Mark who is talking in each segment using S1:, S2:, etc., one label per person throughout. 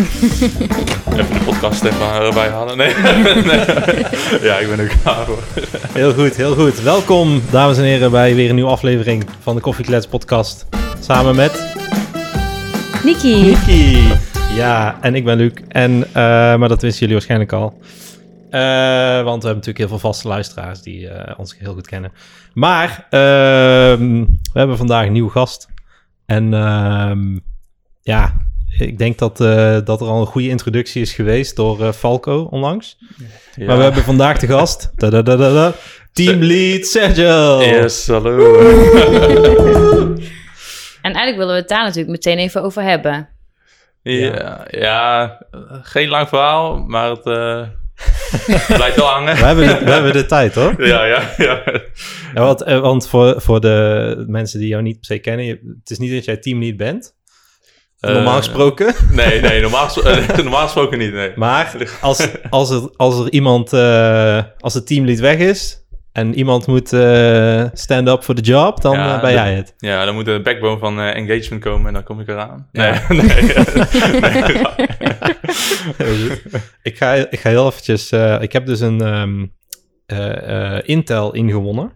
S1: Even de podcast even erbij halen. Nee. nee. Ja, ik ben ook klaar hoor.
S2: Heel goed, heel goed. Welkom, dames en heren, bij weer een nieuwe aflevering van de Coffee Klets podcast. Samen met
S3: Nikki.
S2: Niki. Ja, en ik ben Luc. En, eh, maar dat wisten jullie waarschijnlijk al. Eh, want we hebben natuurlijk heel veel vaste luisteraars die eh, ons heel goed kennen. Maar ehm, we hebben vandaag een nieuwe gast. En ehm, ja, ik denk dat, eh, dat er al een goede introductie is geweest door eh, Falco onlangs.
S1: Ja.
S2: Maar we hebben vandaag de gast. tadadadada, Team Lead Sergio.
S1: Yes, hallo.
S3: En eigenlijk willen we het daar natuurlijk meteen even over hebben.
S1: Ja, ja, eh, geen lang verhaal, maar het eh, blijft wel
S2: We
S1: hangen.
S2: hebben, de, we hebben de tijd hoor.
S1: Ja, ja, ja.
S2: Ja, want, eh, want voor, voor de mensen die jou niet per se kennen, je- het is niet dat jij teamlead bent. Normaal
S1: Eh,
S2: gesproken.
S1: Nee, nee, normaal, gespro- eh, normaal gesproken niet, nee.
S2: Maar als, als, het, als er iemand, eh, als het teamlead weg is en iemand moet eh, stand up voor de job, dan
S1: Ja,
S2: eh, ben
S1: dat-
S2: jij het.
S1: Ja, dan moet de backbone van eh, engagement komen en dan kom ik eraan. Nee, nee. nee.
S2: ik, ga, ik ga heel eventjes... eh, ik heb dus een ehm, eh, eh, Intel ingewonnen.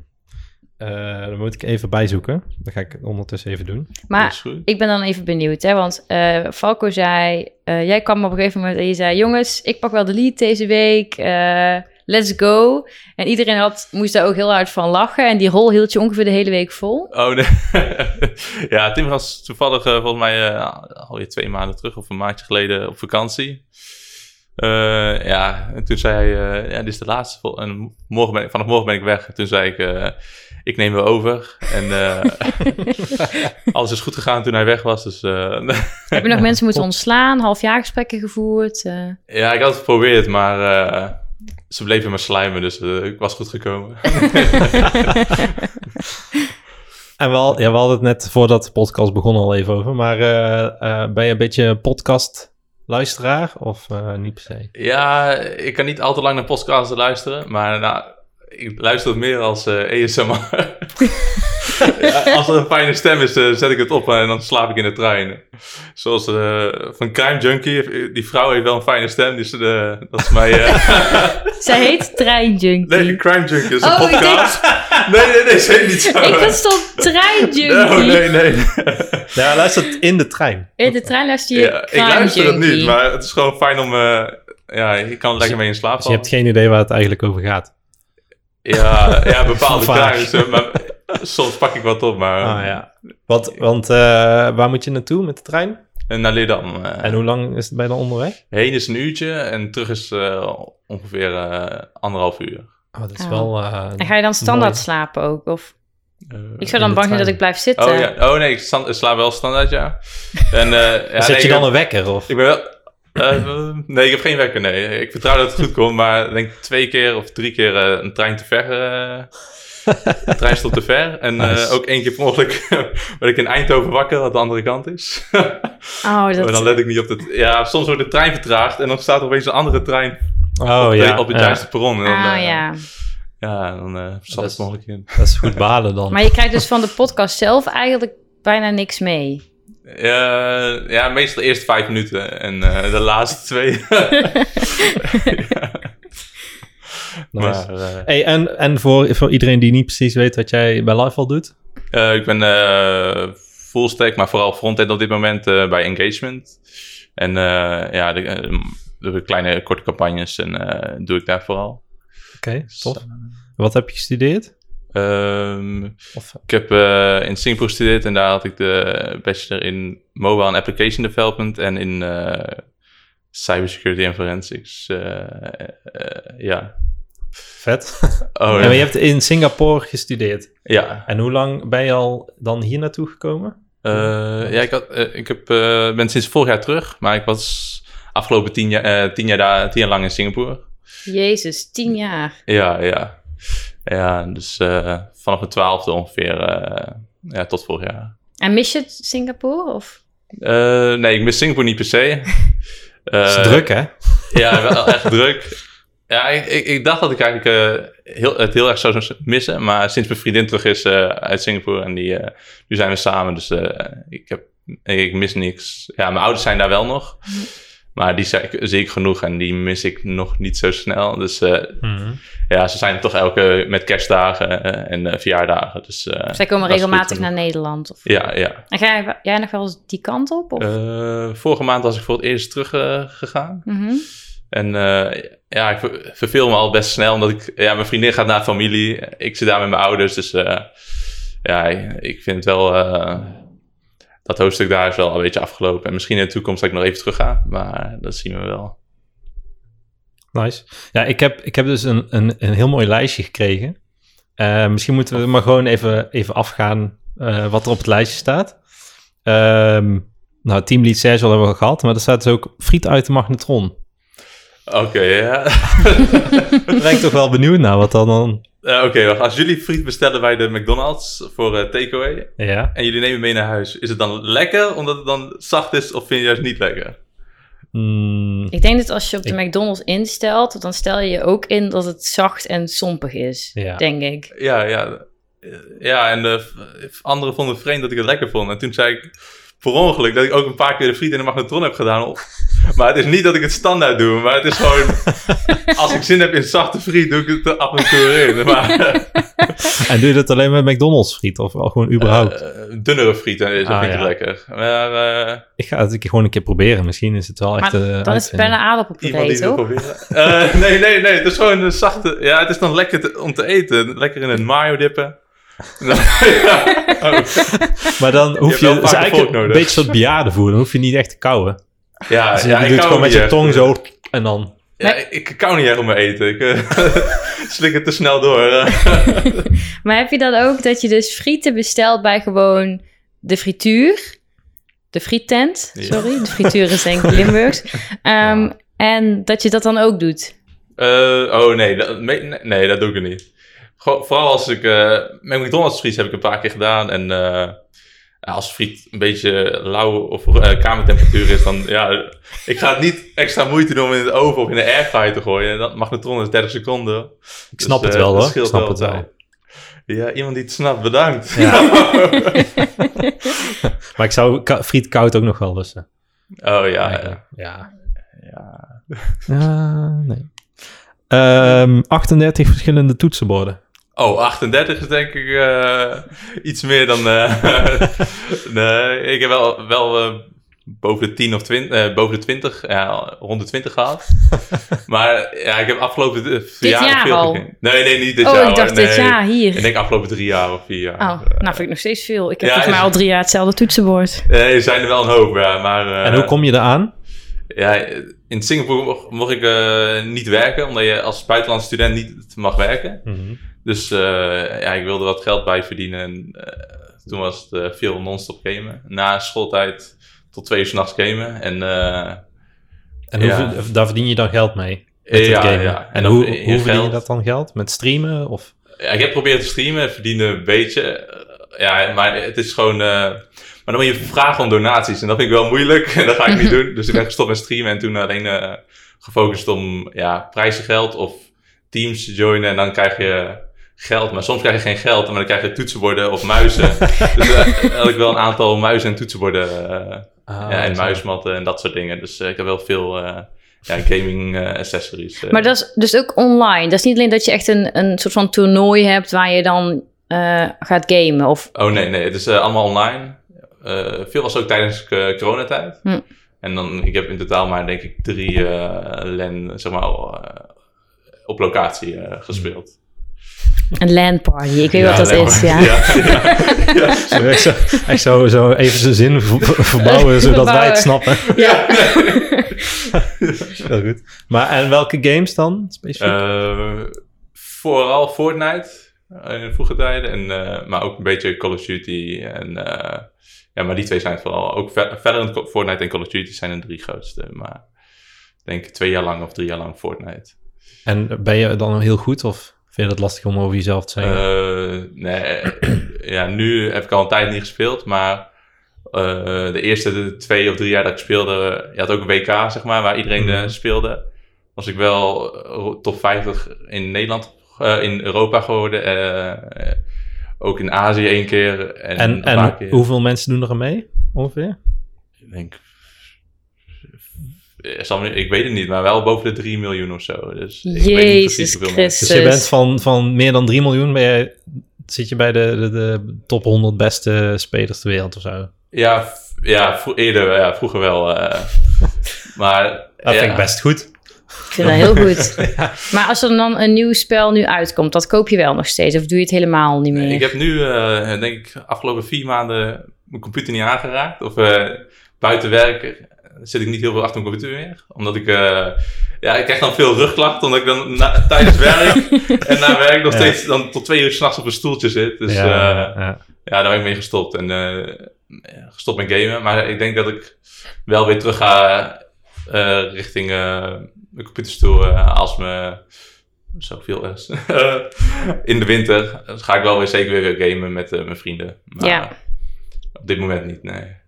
S2: Eh dat moet ik even bijzoeken. Dat ga ik ondertussen even doen.
S1: Dat
S3: Maar
S1: is goed.
S3: ik ben dan even benieuwd, hè, want eh, Falco zei... eh, jij kwam op een gegeven moment en je zei... Jongens, ik pak wel de lead deze week. eh, let's go. En iedereen had, moest daar ook heel hard van lachen. En die rol hield je ongeveer de hele week vol.
S1: Oh, nee. ja, Tim was toevallig eh, volgens mij eh, alweer twee maanden terug of een maandje geleden op vakantie. Eh, ja, en toen zei hij, eh, ja, dit is de laatste. vol- en morgen ben ik, vanaf morgen ben ik weg. En toen zei ik, eh, ik neem weer over. En eh, alles is goed gegaan toen hij weg was. Dus eh,
S3: Heb je nog mensen moeten ontslaan? Halfjaargesprekken gevoerd? eh?
S1: ja, ik had het geprobeerd, maar eh, ze bleven maar slijmen. Dus eh, ik was goed gekomen.
S2: En we, al- ja, we hadden het net voordat de podcast begon al even over. Maar eh, eh, ben je een beetje een podcastluisteraar of eh, niet per se?
S1: Ja, ik kan niet al te lang naar podcasts luisteren, maar nou, ik luister het meer als eh ASMR. Ja, als er een fijne stem is, eh, zet ik het op en dan slaap ik in de trein. Zoals eh, van Crime Junkie, eh, die vrouw heeft wel een fijne stem, dus eh, dat is mij... eh,
S3: Zij heet Treinjunkie.
S1: nee, Crime Junkie is een
S3: Oh, ik
S1: podcast. Nee, nee, nee, zeker niet zo.
S3: Ik verstond Treinjunkie.
S1: No, nee, nee.
S2: Ja, luistert in de trein.
S3: In de trein luister je
S1: Ja, ik luister het
S3: Crime
S1: niet,
S3: Junkie.
S1: maar het is gewoon fijn om... eh, ja, je kan er lekker mee in slaap
S2: Dus je
S1: vallen.
S2: hebt geen idee waar het eigenlijk over gaat.
S1: Ja, ja bepaalde
S2: Vaag.
S1: kaarsen. Maar soms pak ik wat op, maar
S2: Ah ja. Want, want eh, waar moet je naartoe met de trein?
S1: eh, naar Leerdam. eh.
S2: En hoe lang is het bijna onderweg?
S1: Heen is een uurtje en terug is eh, ongeveer eh, anderhalf uur.
S2: Oh, dat is
S3: Oh.
S2: wel... eh,
S3: En ga je dan standaard
S2: Mooi.
S3: slapen ook? Of
S1: Eh,
S3: ik zou dan
S2: in de
S3: bang zijn dat
S2: trein.
S3: ik blijf zitten.
S1: oh, ja. oh nee, ik, sta- ik sla wel standaard, ja. En, eh, ja,
S2: Zet
S1: nee,
S2: je dan
S1: ik,
S2: een wekker of?
S1: ik ben wel... eh, nee, ik heb geen wekker, nee. Ik vertrouw dat het goed komt, maar ik denk twee keer of drie keer eh, een trein te ver... eh, een trein stond te ver. En eh,
S2: Nice.
S1: ook één keer per ongeluk werd ik in Eindhoven wakker, wat de andere kant is.
S3: Oh, dat...
S1: Maar dan let ik niet op de... Ja, soms wordt de trein vertraagd en dan staat er opeens een andere trein
S2: Oh
S1: op,
S2: ja,
S1: op het
S2: ja.
S1: juiste perron. En dan,
S3: Ah,
S1: eh,
S3: ja.
S1: Ja, dan eh zat
S2: Dat
S1: het
S2: is-
S1: mogelijk in.
S2: dat is goed balen dan.
S3: Maar je krijgt dus van de podcast zelf eigenlijk bijna niks mee.
S1: Eh, ja, meestal eerst vijf minuten en eh, de laatste twee.
S2: Nice.
S1: Maar, eh,
S2: Hey, en en voor, voor iedereen die niet precies weet wat jij bij Lifeval doet?
S1: eh, ik ben eh full stack, maar vooral frontend op dit moment eh, bij engagement. En eh, ja, de, eh, de kleine korte campagnes en eh, doe ik daar vooral.
S2: Oké, tof. Wat heb je gestudeerd?
S1: Ehm,
S2: Of,
S1: Ik heb eh, in Singapore gestudeerd en daar had ik de bachelor in mobile en application development en in eh, cybersecurity en forensics. Eh, eh, eh, ja.
S2: vet.
S1: Oh,
S2: En
S1: ja.
S2: je hebt in Singapore gestudeerd.
S1: Ja.
S2: En hoe lang ben je al dan hier naartoe gekomen?
S1: Eh, ja, ik, had, eh, ik heb, eh, ben sinds vorig jaar terug, maar ik was afgelopen tien jaar, eh, tien jaar, daar, tien jaar lang in Singapore.
S3: Jezus, tien jaar.
S1: Ja, ja. Ja, dus eh, vanaf mijn twaalfde ongeveer eh, ja, tot vorig jaar.
S3: En mis je het Singapore? Of?
S1: Eh, nee, ik mis Singapore niet per se. Eh,
S2: Het is druk, hè?
S1: Ja, wel echt druk. Ja, ik, ik, ik dacht dat ik eigenlijk eh, heel, het heel erg zou missen. Maar sinds mijn vriendin terug is eh, uit Singapore en die, eh, nu zijn we samen. Dus eh, ik, heb, ik mis niks. Ja, mijn ouders zijn daar wel nog. Maar die zie ik, zie ik genoeg en die mis ik nog niet zo snel. Dus eh,
S2: hmm.
S1: ja, ze zijn er toch elke met kerstdagen eh, en eh, verjaardagen. Dus eh,
S3: Zij komen
S1: dat is goed
S3: regelmatig
S1: genoeg.
S3: naar Nederland. Of...
S1: ja, ja.
S3: En ga jij, jij nog wel eens die kant op? Of?
S1: Eh, vorige maand was ik voor het eerst terug eh, gegaan.
S3: Mhm.
S1: En eh, ja, ik ver- verveel me al best snel, omdat ik... Ja, mijn vriendin gaat naar familie. Ik zit daar met mijn ouders, dus... eh, ja, ik- ik vind het wel... eh, dat hoofdstuk daar is wel een beetje afgelopen. En misschien in de toekomst dat ik nog even terug ga. Maar dat zien we wel.
S2: Nice. Ja, ik heb, ik heb dus een, een, een heel mooi lijstje gekregen. Eh, misschien moeten we maar gewoon even, even afgaan eh, wat er op het lijstje staat. Ehm nou, Team Lead Sergio hebben we al gehad, maar er staat dus ook friet uit de magnetron.
S1: Oké, ja.
S2: Daar ben ik toch wel benieuwd naar wat dan dan...
S1: Eh, Oké, wacht. Als jullie friet bestellen bij de McDonald's voor eh, takeaway...
S2: Ja.
S1: en jullie nemen mee naar huis... is het dan lekker omdat het dan zacht is... of vind je juist niet lekker?
S2: Mm,
S3: Ik denk dat als je op de McDonald's instelt, dan stel je je ook in dat het zacht en sompig is,
S2: Ja.
S3: denk ik.
S1: Ja, ja. Eh, Ja, en eh, v- anderen vonden het vreemd dat ik het lekker vond. En toen zei ik per ongeluk dat ik ook een paar keer de friet in de magnetron heb gedaan. Op- Maar het is niet dat ik het standaard doe. Maar het is gewoon... als ik zin heb in zachte friet, doe ik het er af en toe weer in. Maar eh,
S2: en doe je dat alleen met McDonald's friet of al gewoon überhaupt?
S1: eh, dunnere friet eh, is
S2: Ah,
S1: vind ik
S2: ja.
S1: het lekker. Maar eh,
S2: ik ga het een keer gewoon een keer proberen. Misschien is het wel echt...
S3: Maar
S2: eh,
S3: dan is het
S2: uitvinding.
S3: bijna
S1: iemand
S3: aardappelpuree,
S1: die het
S3: toch?
S1: wil proberen. Eh, nee, nee, nee. Het is gewoon een zachte... Ja, het is dan lekker te- om te eten. Lekker in een mayo dippen.
S2: Dus
S1: ja. Oh.
S2: Maar dan hoef
S1: hebt
S2: je...
S1: wel
S2: Het
S1: vaak
S2: is
S1: een
S2: eigenlijk
S1: volk
S2: een
S1: nodig.
S2: beetje soort bejaardenvoer. Dan hoef je niet echt te kauwen.
S1: ja,
S2: Dus
S1: ja,
S2: je doet het
S1: ik hou
S2: gewoon met
S1: niet
S2: je
S1: echt.
S2: tong zo en dan...
S1: Ja,
S3: Nee.
S1: ik, ik kan niet echt om mijn eten. Ik eh, slik het te snel door. eh.
S3: Maar heb je dan ook dat je dus frieten bestelt bij gewoon de frituur? De friettent,
S1: Ja.
S3: sorry. De frituur is denk ik Limburgs. Ehm,
S2: Ja.
S3: En dat je dat dan ook doet.
S1: Eh, oh nee dat, me- nee, nee, dat doe ik er niet. Gewoon- vooral als ik... eh mijn McDonald's friet heb ik een paar keer gedaan. En eh, als friet een beetje lauw of eh, kamertemperatuur is, dan... Ja, ik ga het niet extra moeite doen om in de oven of in de airfryer te gooien. En dat magnetron is 30 seconden.
S2: Ik snap
S1: Dus,
S2: het
S1: eh,
S2: wel
S1: dat
S2: hoor. Ik
S1: scheelt
S2: snap het wel.
S1: tijd. Ja, iemand die het snapt, bedankt.
S2: Maar ik zou ka- friet koud ook nog wel lusten.
S1: Oh ja, ja.
S2: eigenlijk. ja. Ja, nee. Ehm, 38 verschillende toetsenborden.
S1: Oh, 38 is denk ik eh, iets meer dan. eh, nee, ik heb wel, wel eh, boven de 10 of 20, eh, boven de 20, ja, 120 gehad. maar ja, ik heb afgelopen d- vier jaar,
S3: jaar
S1: veel
S3: al?
S1: gekeken. Nee, nee, niet dit
S3: oh,
S1: jaar.
S3: ik
S1: hoor,
S3: dacht
S1: nee.
S3: dit jaar
S1: Ik
S3: hier.
S1: denk afgelopen drie jaar of vier jaar.
S3: Oh, nou vind ik nog steeds veel. Ik heb
S1: Ja,
S3: volgens mij
S1: is-
S3: al drie jaar hetzelfde toetsenbord.
S1: Nee, Eh, er zijn er wel een hoop, ja. Maar, eh,
S2: en hoe kom je eraan?
S1: Ja, in Singapore mocht, mocht ik eh, niet werken, omdat je als buitenlandse student niet mag werken. Dus eh, ja, ik wilde wat geld bij verdienen. En eh, toen was het eh, veel non-stop gamen. Na schooltijd tot twee uur s'nachts gamen. En, eh,
S2: En hoe
S1: Ja.
S2: ver- eh, daar verdien je dan geld mee? Met
S1: eh,
S2: het gamen?
S1: ja.
S2: En
S1: dan
S2: hoe,
S1: je
S2: hoe verdien je
S1: geld.
S2: dat dan geld? Met streamen? Of?
S1: Ja, ik heb proberen te streamen en verdienen een beetje. Eh, Ja, maar het is gewoon... eh, maar dan moet je vragen om donaties. En dat vind ik wel moeilijk. En dat ga ik niet doen. Dus ik ben gestopt met streamen. En toen alleen eh, gefocust om ja, prijzengeld of teams te joinen. En dan krijg je geld. Maar soms krijg je geen geld. Maar dan krijg je toetsenborden of muizen. dus eh, dan had ik wel een aantal muizen en toetsenborden. eh,
S2: Ah,
S1: ja, en muismatten en dat soort dingen. Dus eh, ik heb wel veel eh, ja, gaming eh, accessories. eh.
S3: Maar dat is dus ook online. Dat is niet alleen dat je echt een, een soort van toernooi hebt waar je dan eh, gaat gamen. Of
S1: Oh nee, nee, het is eh, allemaal online. Eh, veel was ook tijdens eh, coronatijd.
S3: Hm.
S1: En dan, ik heb in totaal maar denk ik drie eh, LAN, zeg maar, eh, op locatie eh, gespeeld.
S3: een LAN-party. Ik weet
S2: Ja,
S3: wat dat
S1: alleen
S3: is,
S1: maar-
S3: ja.
S1: ja, ja.
S2: Ik zou, ik zou zo even zijn zin ver- verbouwen, zodat wij het snappen.
S1: Ja.
S2: Heel goed. Maar en welke games dan? Specifiek?
S1: Eh, vooral Fortnite eh, in de vroege tijden. En, eh, maar ook een beetje Call of Duty. En, eh, ja, maar die twee zijn het vooral. Ook ver- verder dan Fortnite en Call of Duty zijn de drie grootste. Maar ik denk twee jaar lang of drie jaar lang Fortnite.
S2: en ben je dan heel goed of vind je dat lastig om over jezelf te zeggen?
S1: Eh, nee, ja, nu heb ik al een tijd niet gespeeld, maar eh, de eerste twee of drie jaar dat ik speelde, je had ook een WK, zeg maar, waar iedereen eh,
S2: Mhm.
S1: speelde. Was ik wel eh, top 50 in Nederland, eh, in Europa geworden, eh, eh, ook in Azië één keer. En,
S2: en
S1: een paar
S2: en
S1: keer.
S2: hoeveel mensen doen er aan mee ongeveer?
S1: Ik denk eh, zal me nu- ik weet het niet, maar wel boven de 3 miljoen of zo. Dus ik weet niet precies
S3: Jezus
S1: hoeveel
S3: Christus.
S1: mensen.
S2: Dus je bent van, van meer dan 3 miljoen, ben jij, zit je bij de, de, de top 100 beste spelers ter wereld of zo.
S1: Ja, v- ja vro- eerder, ja, vroeger wel. eh. maar
S2: Dat
S1: ja,
S2: vind ik best goed.
S3: Ik vind dat heel goed. Maar als er dan een nieuw spel nu uitkomt, dat koop je wel nog steeds? Of doe je het helemaal niet meer?
S1: ik heb nu, eh, denk ik, afgelopen vier maanden mijn computer niet aangeraakt. Of eh, buiten werk eh, zit ik niet heel veel achter mijn computer meer. Omdat ik, eh, ja, ik krijg dan veel rugklachten. Omdat ik dan na- tijdens werk en na werk nog
S2: Ja.
S1: steeds dan tot twee uur s'nachts op een stoeltje zit. Dus
S2: ja,
S1: ja.
S2: ja.
S1: ja, daar ben ik mee gestopt. En eh, gestopt met gamen. Maar ik denk dat ik wel weer terug ga eh, richting eh mijn computerstoel. eh, als me zoveel is. in de winter Dus ga ik wel weer zeker weer gamen met eh, mijn vrienden. Maar
S3: Ja.
S1: op dit moment niet, nee.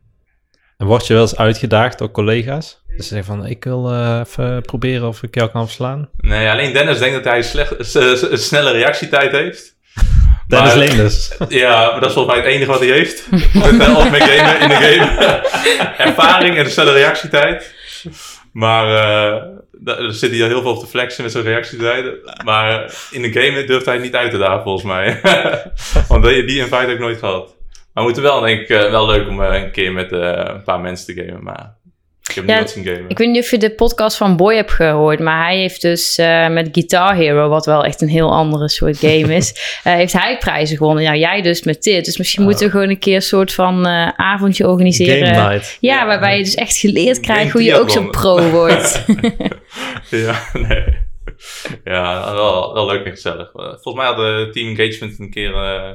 S2: En word je wel eens uitgedaagd door collega's? Dus ze zeggen van, ik wil eh, even proberen of ik jou kan verslaan.
S1: Nee, alleen Dennis denkt dat hij slecht, s- s- een snelle reactietijd heeft.
S2: Dennis
S1: Maar-
S2: Leenders.
S1: Ja, maar dat is volgens mij het enige wat hij heeft. Met, eh, of met gamen in de game. Ervaring en een snelle reactietijd. Maar eh daar daar zit hij al heel veel op te flexen met zijn reactietijd. Maar eh, in de game durft hij niet uit te dagen volgens mij. Want die, die invite heb ik nooit gehad. Maar we moeten wel, denk ik, eh, wel leuk om eh, een keer met eh, een paar mensen te gamen. Maar ik heb
S3: Ja,
S1: nooit zien gamen.
S3: Ik weet niet of je de podcast van Boy hebt gehoord, maar hij heeft dus eh, met Guitar Hero, wat wel echt een heel andere soort game is, eh, heeft hij prijzen gewonnen. Nou, jij dus met dit. Dus misschien moeten we gewoon een keer een soort van eh, avondje organiseren.
S2: Game night.
S3: Ja, waarbij je dus echt geleerd krijgt hoe je ook zo'n
S1: triathlon.
S3: pro wordt.
S1: Ja, nee. Ja, wel, wel leuk en gezellig. Eh, Volgens mij had eh, Team Engagement een keer eh,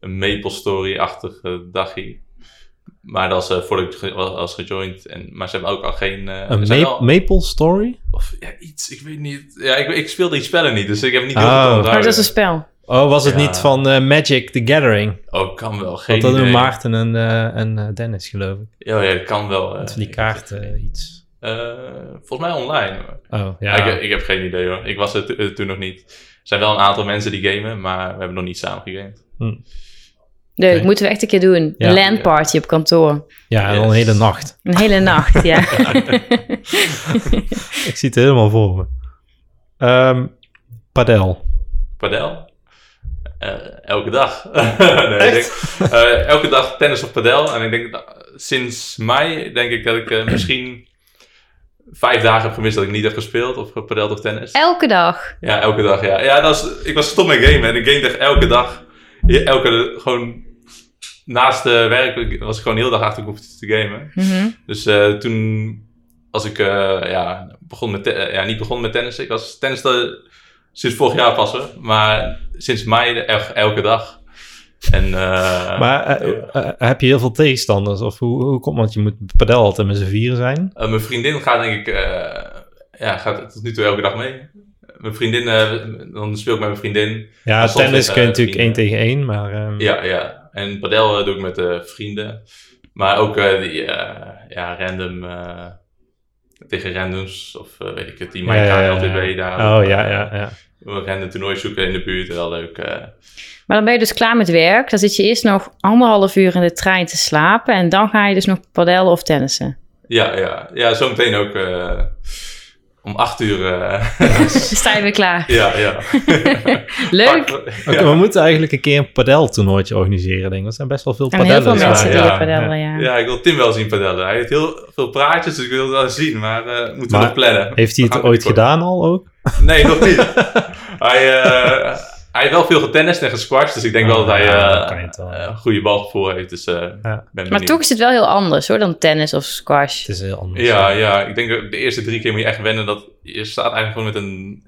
S1: een Maple Story-achtig eh, dagje. Maar dat was eh voordat ik ge- was gejoind. En, maar ze hebben ook al geen... eh,
S2: Een
S1: er zijn
S2: ma-
S1: wel-
S2: Maple Story?
S1: of, ja, iets, ik weet niet. Ja, ik, ik speel die spellen niet, dus ik heb niet heel
S2: Oh.
S1: veel te
S2: Maar
S3: Maar
S1: onthouden.
S3: dat is een spel.
S2: Oh, was het
S1: Ja.
S2: niet van eh, Magic the Gathering?
S1: Oh, kan wel. Geen
S2: Want dat doen
S1: idee.
S2: Maarten en, eh, en eh, Dennis, geloof ik.
S1: Ja, ja, kan wel. eh.
S2: Met van die kaarten eh, iets.
S1: Eh, volgens mij online.
S2: Oh, ja.
S1: Ja. ik, ik heb geen idee hoor. Ik was er to- eh, toen nog niet. Er zijn wel een aantal mensen die gamen, maar we hebben nog niet samen gegamed.
S3: Leuk,
S2: Oké.
S3: moeten we echt een keer doen.
S2: Ja.
S3: Een LAN party op kantoor.
S2: ja, en al een
S1: Yes.
S2: hele nacht.
S3: Een hele nacht, ja.
S2: Ik zie het helemaal voor me. Ehm, padel.
S1: Padel? Eh, elke dag. nee, ik denk, eh, elke dag tennis of padel. En ik denk dat- sinds mei denk ik dat ik eh, misschien vijf dagen heb gemist dat ik niet heb gespeeld of gepadeld of tennis.
S3: Elke dag.
S1: ja, elke dag. Ja, ja dat is, ik was stom met gamen en ik game echt elke dag. Ja, Elke, gewoon naast de werk was ik gewoon heel dag achter de computer te gamen.
S3: Mhm.
S1: Dus eh, toen, als ik eh, ja, begon met te- eh, ja, niet begon met tennis, ik was tennis de- sinds vorig jaar pas hoor, maar sinds mei de- echt elke dag. En, eh,
S2: maar eh, eh, eh, heb je heel veel tegenstanders? Of hoe, hoe komt Want je moet padel altijd met z'n vieren zijn.
S1: eh, mijn vriendin gaat denk ik, eh, ja, gaat tot nu toe elke dag mee. Mijn vriendin, eh, dan speel ik met mijn vriendin.
S2: Ja,
S1: Maar soms
S2: tennis
S1: met,
S2: kun je
S1: eh,
S2: natuurlijk één tegen
S1: vrienden.
S2: één, maar... ehm,
S1: Ja, ja. En padel eh, doe ik met eh, vrienden. Maar ook eh, die, eh, ja, random, eh, tegen randoms of eh, weet ik het, die
S2: ja, ja,
S1: Minecraft
S2: ja, ja.
S1: LTB daar. eh,
S2: Oh, ja, ja, ja.
S1: We gaan een toernooi zoeken in de buurt, wel leuk. eh.
S3: Maar dan ben je dus klaar met werk. Dan zit je eerst nog anderhalf uur in de trein te slapen. En dan ga je dus nog padellen of tennissen.
S1: ja, ja, ja, zometeen ook eh, om acht uur. eh,
S3: Dus Dan sta je weer klaar.
S1: ja, ja.
S3: Leuk.
S1: Ja.
S2: Oké, We moeten eigenlijk een keer een padeltoernooitje organiseren, denk ik. Want er zijn best wel veel
S3: En heel veel
S2: padellers.
S1: ja,
S3: mensen die
S1: ja,
S3: je padellen, ja.
S1: Ja, ik wil Tim wel zien padellen. Hij heeft heel veel praatjes, dus ik wil het wel zien, maar eh, moeten
S2: Maar
S1: we nog plannen.
S2: Heeft hij
S1: We
S2: het
S1: gaan
S2: ooit
S1: het
S2: gedaan al ook?
S1: Nee, nog niet. hij, eh, hij heeft wel veel getennist en gesquashed, dus ik denk wel dat hij
S2: Oh, Ja,
S1: eh,
S2: dan kan je het wel.
S1: een goede balgevoel heeft. Dus, eh, ben
S3: Maar
S1: benieuwd.
S3: toch is het wel heel anders hoor dan tennis of
S2: Het
S3: squash.
S2: is heel anders.
S1: Ja, ja, ik denk dat de eerste drie keer moet je echt wennen dat je staat eigenlijk gewoon met een...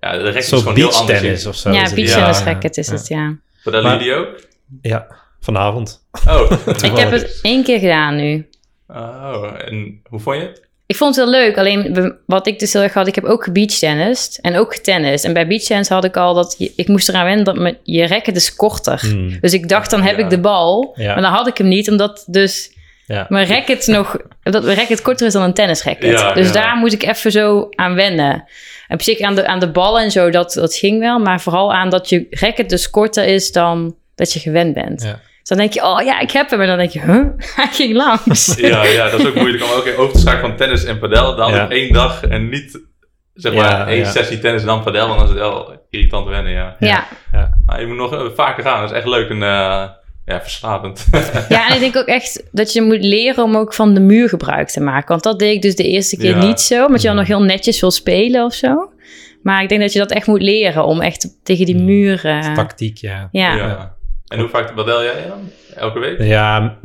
S1: Ja, de rek is
S2: Zo
S1: gewoon heel anders.
S2: beachtennis of zo. Dus is
S3: Ja,
S2: het.
S3: beachtennisracket is het, ja.
S1: Padellen
S2: Maar-
S1: jullie ook?
S2: Ja, vanavond.
S1: Oh.
S3: Ik heb het één keer gedaan nu.
S1: Oh, en hoe vond je het?
S3: Ik vond het heel leuk, alleen be- wat ik dus heel erg had, ik heb ook beachtennist en ook getennist. En bij beachtennis had ik al dat, je- ik moest eraan wennen dat mijn- je racket is korter.
S2: Hmm.
S3: Dus ik dacht, dan heb
S1: Ja.
S3: ik de bal,
S2: Ja.
S3: maar dan had ik hem niet, omdat dus
S2: Ja.
S3: mijn racket nog, dat mijn racket korter is dan een tennisracket.
S1: Ja,
S3: dus
S1: ja.
S3: daar moet ik even zo aan wennen. En op zich aan de, aan de bal en zo, dat, dat ging wel, maar vooral aan dat je racket dus korter is dan dat je gewend bent.
S2: Ja.
S3: Dus dan denk je, oh ja, ik heb hem. En dan denk je, huh? Hij ging langs.
S1: Ja, ja, dat is ook moeilijk om ook in over te schakelen van tennis en padel. Dan
S2: Ja.
S1: op één dag en niet zeg
S2: Ja,
S1: maar één
S2: ja.
S1: sessie tennis en dan padel. Want dan is het wel irritant wennen, ja.
S3: ja.
S1: Maar je moet nog eh, vaker gaan. Dat is echt leuk en eh, ja, verslavend.
S3: Ja, en ik denk ook echt dat je moet leren om ook van de muur gebruik te maken. Want dat deed ik dus de eerste keer
S1: Ja. Mm.
S3: niet zo, omdat je dan
S2: Mhm.
S3: nog heel netjes wil spelen of zo. Maar ik denk dat je dat echt moet leren om echt tegen
S1: Mm.
S3: die muren...
S2: Tactiek, ja.
S3: ja.
S1: Ja. En hoe vaak padel jij dan? Elke week?
S2: Ja, m-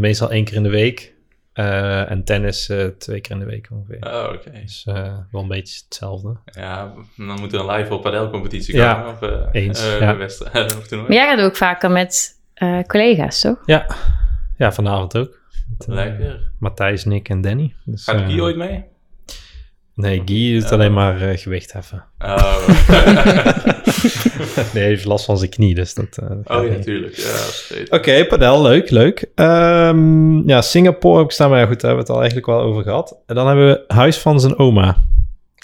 S2: meestal één keer in de week. Eh, en tennis eh, twee keer in de week ongeveer.
S1: Oh, oké.
S2: Dus eh, wel een beetje hetzelfde.
S1: Ja, dan moet er een live op padelcompetitie
S2: Ja,
S1: komen. Of, eh,
S2: eens,
S1: eh,
S2: ja.
S1: wedstrijd of toernooi.
S3: Maar jij gaat ook vaker met eh, collega's, toch?
S2: Ja, ja vanavond ook. Met, eh,
S1: Lekker.
S2: Matthijs, Nick en Danny. Dus,
S1: Gaat
S2: eh,
S1: Guy ooit mee?
S2: Nee, Guy doet alleen maar eh, gewicht heffen.
S1: Oh,
S2: nee, hij heeft last van zijn knie, dus dat... eh, dat gaat
S1: oh ja,
S2: niet.
S1: tuurlijk. Ja, vergeet.
S2: Oké, padel, leuk, leuk. Ehm, ja, Singapore heb ik staan, maar ja, goed, daar hebben we het al eigenlijk wel over gehad. En dan hebben we Huis van zijn oma.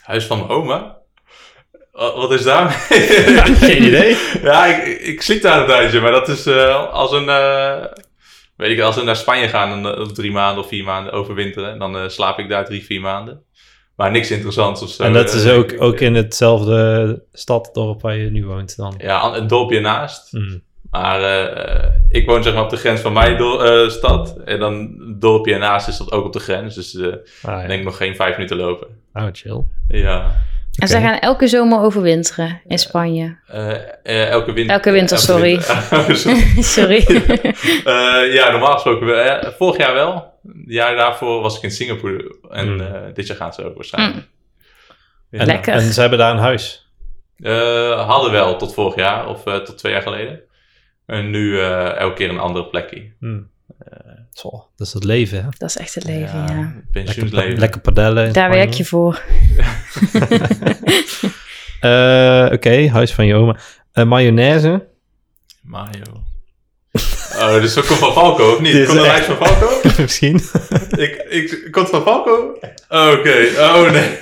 S1: Huis van mijn oma? Wa- Wat is daar?
S2: Geen idee.
S1: ja, ik, ik sliep daar een tijdje, maar dat is eh, als een... eh, weet ik, als we naar Spanje gaan, dan eh, drie maanden of vier maanden overwinteren. Dan eh, slaap ik daar drie, vier maanden. Maar niks interessants of zo.
S2: en dat
S1: Eh,
S2: is ook, ook in hetzelfde stad, dorp waar je nu woont dan.
S1: Ja, an- een dorpje naast.
S2: Mm.
S1: Maar eh, eh, ik woon zeg maar op de grens van mijn dor- eh, stad. En dan het dorpje ernaast is dat ook op de grens. Dus eh
S2: Ah, ja.
S1: denk ik nog geen vijf minuten lopen.
S2: Oh, chill.
S1: Ja.
S3: En zij gaan elke zomer overwinteren in Spanje.
S1: Eh, eh, elke winter. Oh,
S3: Elke winter, sorry. Sorry.
S1: Eh, ja, normaal gesproken. wel, hè. vorig jaar wel. Het jaar daarvoor was ik in Singapore. En
S2: Mm.
S1: eh, dit jaar gaan ze ook waarschijnlijk. Ja.
S2: En,
S3: Lekker.
S2: en ze hebben daar een huis.
S3: Hmm.
S1: Eh, hadden wel tot vorig jaar of eh, tot twee jaar geleden. En nu eh, elke keer een andere plekje.
S2: Mm. Zo, dat is het leven, hè?
S3: dat is echt het leven, ja.
S2: Lekker, pa-
S1: Pensioensleven.
S2: lekker padellen. in
S3: Daar
S2: Spanje.
S3: werk je voor.
S2: Eh, Oké, huis van je oma. Eh, mayonaise.
S1: Mayo. Oh, dus dat komt van Falco, of niet?
S2: Dit is
S1: Komt dat
S2: echt-
S1: lijst van Falco?
S2: Misschien.
S1: ik, ik, komt het van Falco? Oké, oh nee.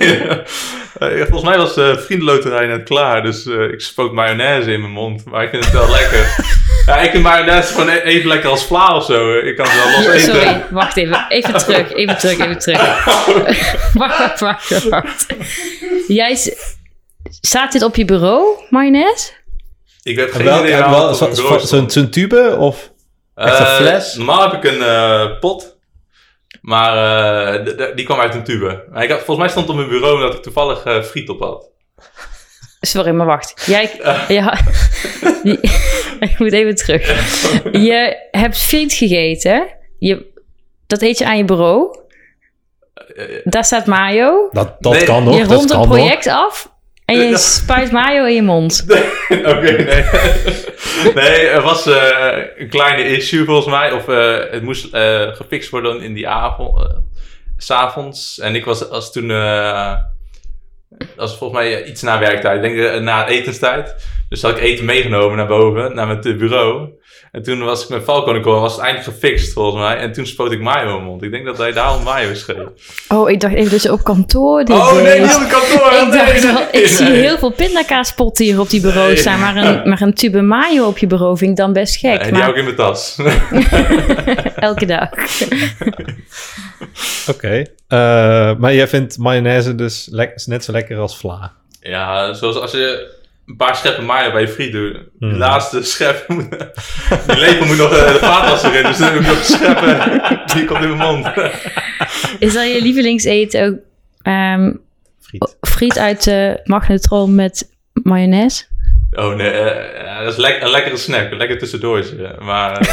S1: Eh, Volgens mij was de vriendenloterij net klaar, dus eh, ik spoot mayonaise in mijn mond. Maar ik vind het wel lekker. Ja, ik vind mayonaise gewoon e- even lekker als vla of zo. Ik kan het wel los eten.
S3: Sorry, wacht even. Even terug, even terug, even terug. wacht, wacht, wacht, wacht. Jij... s- Staat dit op je bureau, mayonaise?
S1: Ik heb geen
S2: En wel-
S1: idee
S2: en
S1: waar
S2: wel
S1: het op
S2: zo-
S1: een bureau
S2: zo- Zo'n
S1: stond.
S2: zo'n tube of... echt een
S1: Eh,
S2: fles?
S1: Normaal heb ik een eh, pot. Maar eh, d- d- die kwam uit een tube. Maar ik had, volgens mij stond op mijn bureau dat ik toevallig eh, friet op had.
S3: Sorry, maar wacht. Jij... Ja, ik moet even terug. Je hebt friet gegeten. Je, dat eet je aan je bureau.
S1: Eh,
S3: Daar staat mayo.
S2: Dat, dat
S1: Nee,
S2: kan nog,
S3: je
S2: dat
S3: rondt
S2: kan
S3: een
S2: nog.
S3: project af en je
S1: Ja.
S3: spuit mayo in je mond.
S1: Oké, nee. nee, er was eh, een kleine issue volgens mij. Of eh, het moest eh, gefixt worden in die avond. eh, s S'avonds. En ik was als toen. eh dat was volgens mij iets na werktijd. Ik denk eh, na etenstijd. Dus had ik eten meegenomen naar boven, naar mijn eh, bureau. En toen was ik met Falco aan de call, was het eindelijk gefixt volgens mij. En toen spoot ik mayo in mijn mond. Ik denk dat hij daarom mayo schreef.
S3: Oh, ik dacht even dat je op kantoor dit
S1: Oh nee,
S3: deed.
S1: niet op het kantoor!
S3: Ik
S1: nee,
S3: dacht wel,
S1: nee,
S3: ik zie
S1: nee.
S3: heel veel pindakaaspotten hier op die bureau
S1: Nee.
S3: staan. Maar een, maar een tube mayo op je bureau vind ik dan best
S1: Ja,
S3: gek.
S1: En die
S3: maar
S1: hou ik in mijn tas.
S3: elke dag.
S2: Oké. Eh, maar jij vindt mayonaise dus lek- is net zo lekker als vla.
S1: Ja, zoals als je een paar scheppen mayo bij je friet doet. De
S2: Hmm.
S1: laatste schep, moet- die lepel moet nog eh, de vaatwas erin. Dus dan heb ik nog scheppen. Die komt in mijn mond.
S3: Is dan je lievelingseten ook ehm,
S2: Friet.
S3: friet uit de magnetron met mayonaise?
S1: Oh nee, eh, ja, dat is lek- een lekkere snack. Een lekker tussendoortje. Maar eh,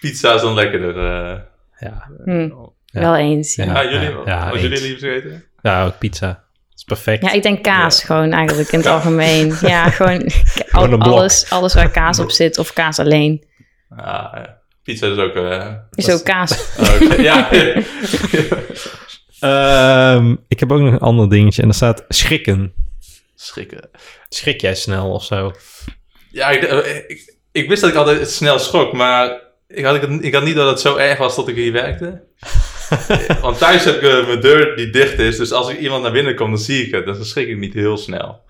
S1: pizza is dan lekkerder. eh.
S2: Ja.
S3: Hm,
S2: Ja.
S3: Wel eens. Ja.
S2: Ja.
S1: ja, jullie,
S2: ja,
S1: als jullie
S2: eens.
S1: liefst eten?
S2: Ja, ook pizza. Dat is perfect.
S3: ik denk kaas gewoon eigenlijk in het algemeen. Ja, gewoon k- al-
S2: Gewoon een blok.
S3: alles, alles waar kaas op zit of kaas alleen.
S1: Ah, ja. Pizza is ook... eh,
S3: Is
S2: Dat
S3: ook kaas.
S1: oh, oké. ja.
S2: Ehm, ik heb ook nog een ander dingetje en daar staat schrikken.
S1: Schrikken.
S2: Schrik jij snel of zo?
S1: Ja, ik, eh, ik, ik wist dat ik altijd snel schrok, maar ik had, ik, ik had niet dat het zo erg was dat ik hier werkte. Eh, Want thuis heb ik eh, mijn deur die dicht is, dus als ik iemand naar binnen komt, dan zie ik het. Dus dan schrik ik niet heel snel.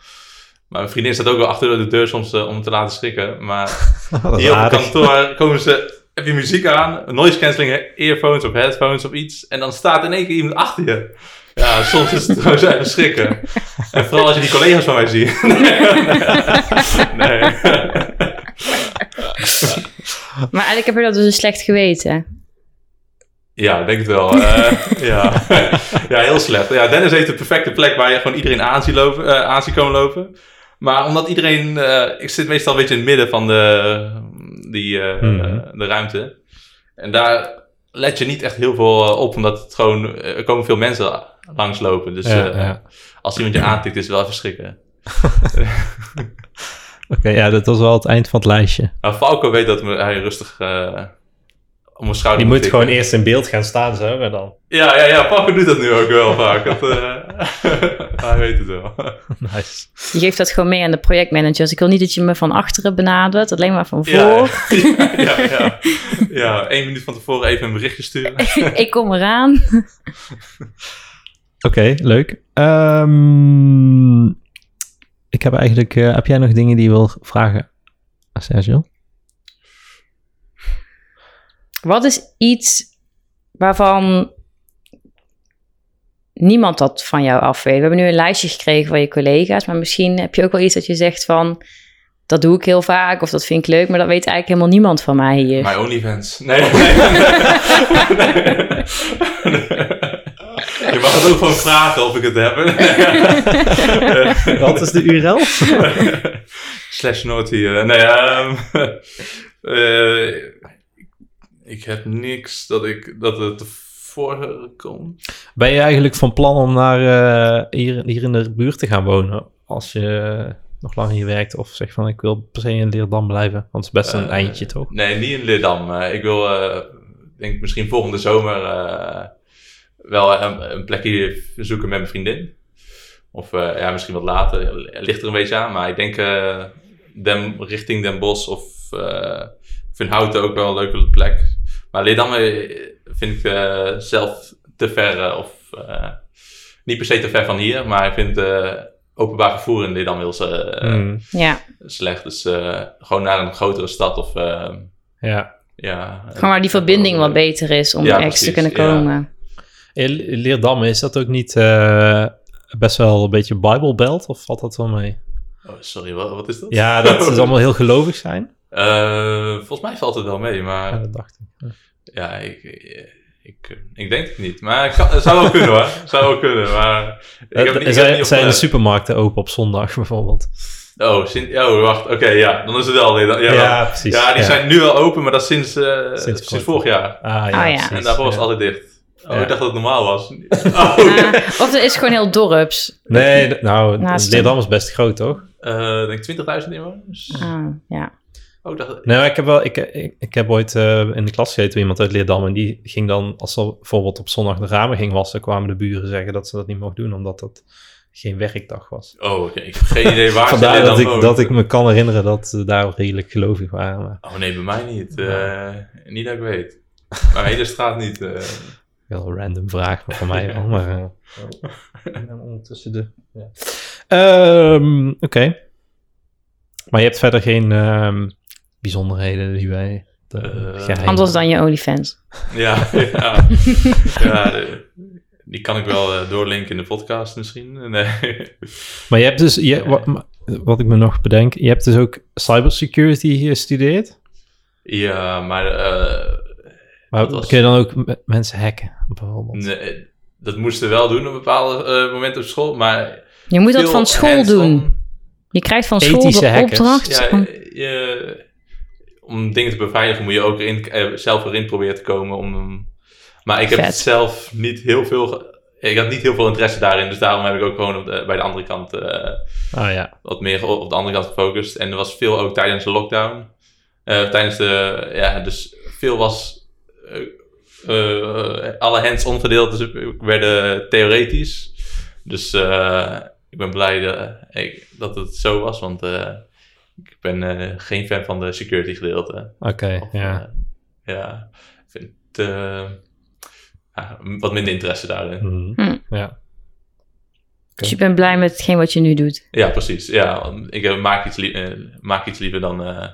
S1: Maar mijn vriendin staat ook wel achter de deur soms eh, om te laten schrikken. Maar
S2: Dat is
S1: hier op het
S2: aardig.
S1: kantoor komen ze heb je muziek aan, noise cancelling earphones of headphones of iets. En dan staat in één keer iemand achter je. Ja, soms is het gewoon zijn verschrikken. En vooral als je die collega's van mij ziet. Nee.
S3: Maar eigenlijk heb je dat dus een slecht geweten.
S1: Ja, ik denk het wel. Eh, ja. ja, heel slecht. Ja, Dennis heeft de perfecte plek waar je gewoon iedereen aan ziet, lopen, eh, aan ziet komen lopen. Maar omdat iedereen... eh, ik zit meestal een beetje in het midden van de, die, eh,
S2: Mhm.
S1: de ruimte. En daar let je niet echt heel veel eh, op, omdat het gewoon, eh, er komen veel mensen langslopen. Dus
S2: Ja,
S1: eh,
S2: ja.
S1: als iemand je aantikt, is het wel even schrikken.
S2: ja, dat was wel het eind van het lijstje.
S1: Nou, Falco weet dat me- hij rustig eh, om mijn schouder
S2: Die moet
S1: tikken.
S2: gewoon eerst in beeld gaan staan zo en dan...
S1: Ja, ja, ja, Falco doet dat nu ook wel vaak. Dat, eh, hij weet het wel.
S2: Nice.
S3: Je geeft dat gewoon mee aan de projectmanagers. Ik wil niet dat je me van achteren benadert, alleen maar van
S1: Ja,
S3: voor.
S1: ja, ja, ja. ja, één minuut van tevoren even een berichtje sturen.
S3: ik kom eraan.
S2: Oké, leuk. Ehm, ik heb eigenlijk... eh, heb jij nog dingen die je wil vragen, aan Sergio?
S3: Wat is iets waarvan niemand dat van jou af weet? We hebben nu een lijstje gekregen van je collega's, maar misschien heb je ook wel iets dat je zegt van... Dat doe ik heel vaak, of dat vind ik leuk, maar dat weet eigenlijk helemaal niemand van mij hier.
S1: My OnlyFans. Nee, nee, nee. Je mag het ook gewoon vragen of ik het heb.
S2: Wat is de URL?
S1: Slash Naughty. eh, nee, ehm, eh, ik heb niks dat, ik, dat het voor komt.
S2: Ben je eigenlijk van plan om naar, eh, hier, hier in de buurt te gaan wonen? Als je eh, nog lang hier werkt of zeg van ik wil per se in Leerdam blijven. Want het is best een
S1: Eh,
S2: eindje toch?
S1: Nee, niet in Lidam. Eh, ik wil, eh, denk misschien volgende zomer eh, wel een, een plekje zoeken met mijn vriendin. Of eh, ja, misschien wat later. Ligt er een beetje aan. Maar ik denk eh, Den, richting Den Bosch of eh ik vind Houten ook wel een leuke plek. Maar Leerdam eh, vind ik eh, zelf te ver. eh, of eh, niet per se te ver van hier. Maar ik vind eh, openbaar vervoer in Leerdam heel eh,
S2: Hmm,
S3: Ja,
S1: slecht. Dus eh, gewoon naar een grotere stad of eh,
S2: ja.
S1: ja.
S3: gewoon waar die verbinding wat beter is om
S1: Ja,
S3: ergens te kunnen
S1: precies,
S3: komen.
S2: In Le- Leerdam is dat ook niet eh, best wel een beetje Bible Belt of valt dat wel mee?
S1: Oh, sorry, wat, wat is dat?
S2: Ja, dat ze allemaal heel gelovig zijn.
S1: Eh, volgens mij valt het wel mee,
S2: Ja,
S1: maar
S2: dat dacht ik. Ja.
S1: ja, ik, ik, ik, ik denk het niet. Maar het, kan- het zou wel kunnen hoor. Het zou wel kunnen, maar ik heb het niet, ik heb het
S2: zijn
S1: niet
S2: Eh,
S1: eh,
S2: zijn de
S1: opgelet.
S2: supermarkten open op zondag bijvoorbeeld?
S1: Oh, sin- oh, wacht. Oké, ja, dan is het wel. Ja,
S2: Ja,
S1: dan- ja,
S2: precies.
S1: die zijn nu al open, maar dat is sinds, eh,
S2: Sinds
S1: sinds,
S2: kort.
S1: vorig jaar.
S2: Ah ja,
S3: Ah, ja.
S2: precies.
S1: En daarvoor was
S2: Ja.
S1: het altijd dicht. Oh,
S2: Ja.
S1: ik dacht dat het normaal was. Oh,
S3: Ah, of er is gewoon heel dorps.
S2: Nee, d- nou,
S3: Naast-
S2: Leerdam is best groot toch?
S1: Eh, ik denk 20.000 inwoners.
S3: Ah, ja.
S1: Oh, ik dacht...
S2: Nee, maar ik heb wel, ik, ik, ik heb ooit eh, in de klas gezeten met iemand uit Leerdam en die ging dan, als ze bijvoorbeeld op zondag de ramen ging wassen, kwamen de buren zeggen dat ze dat niet mocht doen, omdat dat geen werkdag was.
S1: Oh, oké. Ik heb geen idee waar ze
S2: Vandaar
S1: dit
S2: dat
S1: dan
S2: ik,
S1: wonen.
S2: dat ik me kan herinneren dat ze daar redelijk gelovig waren. Maar
S1: Oh nee, bij mij niet. Eh, niet dat ik weet. Mijn hele straat niet. eh.
S2: wel een random vraag, maar van mij wel. Maar, eh, ik ben ondertussen de... ja. Ehm, Oké. Maar je hebt verder geen ehm, bijzonderheden die wij... De,
S1: Eh,
S2: geheimen-
S3: Anders dan je OnlyFans.
S1: ja, ja. ja de- die kan ik wel eh, doorlinken in de podcast misschien. Nee.
S2: Maar je hebt dus, je, wat, ma- wat ik me nog bedenk, je hebt dus ook cybersecurity gestudeerd.
S1: ja, maar eh,
S2: Maar
S1: Dat was-
S2: kun je dan ook m- mensen hacken, bijvoorbeeld?
S1: nee, dat moesten we wel doen op bepaalde eh, momenten op school. Maar
S3: Je moet dat
S1: veel
S3: van school
S1: hands-on-
S3: doen. Je krijgt van school
S2: Ethische
S3: de
S2: hackers.
S3: opdracht.
S1: Ja,
S3: om-
S1: je, om dingen te beveiligen moet je ook erin, eh, zelf erin proberen te komen. Om, maar ik heb
S3: Vet.
S1: zelf niet heel veel... ge- Ik had niet heel veel interesse daarin. Dus daarom heb ik ook gewoon op de- bij de andere kant... eh,
S2: Ah ja,
S1: wat meer op de andere kant gefocust. En er was veel ook tijdens de lockdown. Eh, tijdens de, ja, dus veel was, eh, eh, alle hands-on gedeeltes dus werden theoretisch. Dus eh, ik ben blij dat, eh, ik- dat het zo was, want eh, ik ben eh, geen fan van de security gedeelte.
S2: oké,
S1: Of,
S2: ja.
S1: eh, ja, ik vind eh, ja, wat minder interesse daarin.
S2: Mhm.
S3: Hm.
S2: Ja.
S3: Dus je bent blij met hetgeen wat je nu doet.
S1: Ja, precies. Ja, ik eh, maak iets, lie- eh, maak iets liever dan eh,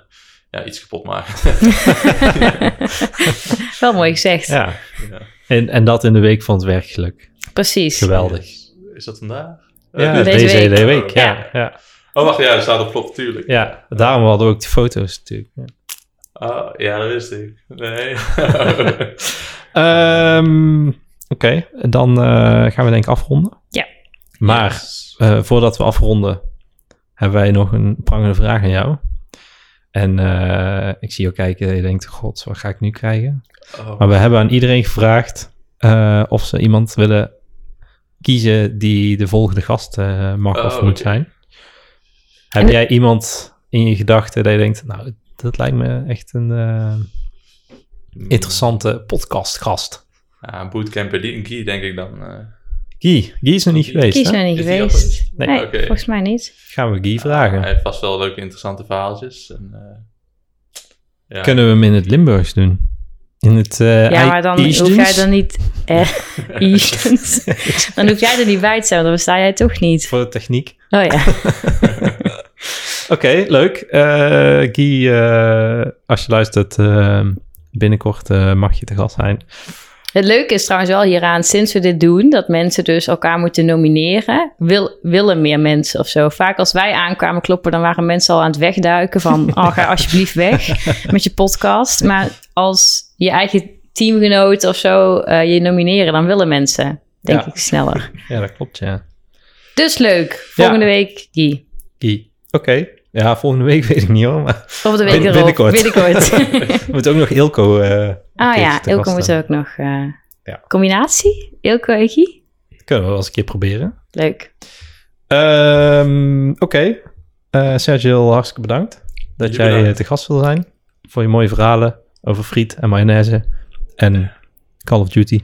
S1: ja, iets kapot maken.
S3: Wel mooi gezegd.
S2: Ja.
S1: Ja.
S2: En, en dat in de week van het werkgeluk.
S3: Precies.
S2: Geweldig.
S1: Is dat vandaag?
S2: Ja,
S1: Eh,
S3: Deze
S2: deze
S3: week.
S2: hele week. Ja,
S3: Ja.
S2: ja.
S1: Oh, wacht, ja, er staat op klop, tuurlijk.
S2: ja. Daarom hadden we ook die foto's natuurlijk. Ja.
S1: Oh, ja, dat wist ik. Nee.
S2: Ehm, Oké, dan eh, gaan we denk ik afronden.
S3: Ja.
S2: Maar
S1: Yes.
S2: eh, voordat we afronden, hebben wij nog een prangende vraag aan jou. En eh, ik zie jou kijken en je denkt, god, wat ga ik nu krijgen?
S1: Oh.
S2: Maar we hebben aan iedereen gevraagd eh, of ze iemand willen kiezen die de volgende gast eh, mag
S1: Oh,
S2: of moet
S1: oké.
S2: zijn. Heb
S3: En-
S2: jij iemand in je gedachten dat je denkt, nou, dat lijkt me echt een eh, interessante podcastgast.
S1: hmm. Ja, bootcamper die- Guy, denk ik dan. eh.
S2: Guy, Guy is nog niet
S1: Guy.
S2: geweest,
S3: Kies
S2: hè?
S3: er niet
S1: Is die al
S3: geweest.
S1: geweest?
S2: Nee,
S3: Nee,
S1: oké.
S3: volgens mij niet.
S2: Gaan we Guy vragen.
S1: Hij heeft vast wel leuke, interessante verhaaltjes. En, eh, ja.
S2: Kunnen we hem in het Limburgs doen? In het eh
S3: ja, maar dan
S2: IJsdens?
S3: hoef jij er niet... Eh, Eastens. dan hoef jij er niet bij te zijn, want dan besta jij toch niet.
S2: Voor de techniek.
S3: Oh ja.
S2: Oké, leuk. Eh Guy, eh, als je luistert, eh, binnenkort eh, mag je te gast zijn.
S3: Het leuke is trouwens wel hieraan, sinds we dit doen, dat mensen dus elkaar moeten nomineren, wil, willen meer mensen of zo. Vaak als wij aankwamen kloppen, dan waren mensen al aan het wegduiken van, oh, ga alsjeblieft weg met je podcast. Maar als je eigen teamgenoot of zo eh, je nomineren, dan willen mensen, denk
S2: Ja.
S3: ik, sneller.
S2: Ja, dat klopt, ja.
S3: Dus leuk. Volgende
S2: Ja.
S3: week die.
S2: Guy. Oké. Ja, volgende week weet ik niet hoor, maar
S3: Of de week
S2: Bin-
S3: erop.
S2: binnenkort.
S3: Binnenkort.
S2: we moeten ook nog Ilko... eh, een
S3: ah
S2: keertje
S3: ja,
S2: te
S3: Ilko
S2: gast
S3: moet
S2: hebben.
S3: ook nog. eh,
S2: Ja.
S3: Combinatie? Ilko en Guy?
S2: Kunnen we wel eens een keer proberen.
S3: Leuk.
S2: Ehm, Oké. Eh, Sergio, hartstikke bedankt dat
S1: Jullie
S2: jij eh,
S1: bedankt.
S2: te gast wil zijn. Voor je mooie verhalen over friet en mayonaise en Call of Duty.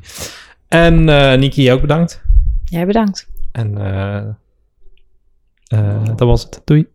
S2: En eh Niki, ook bedankt.
S3: Jij bedankt.
S2: En eh, eh, dat was het. Doei.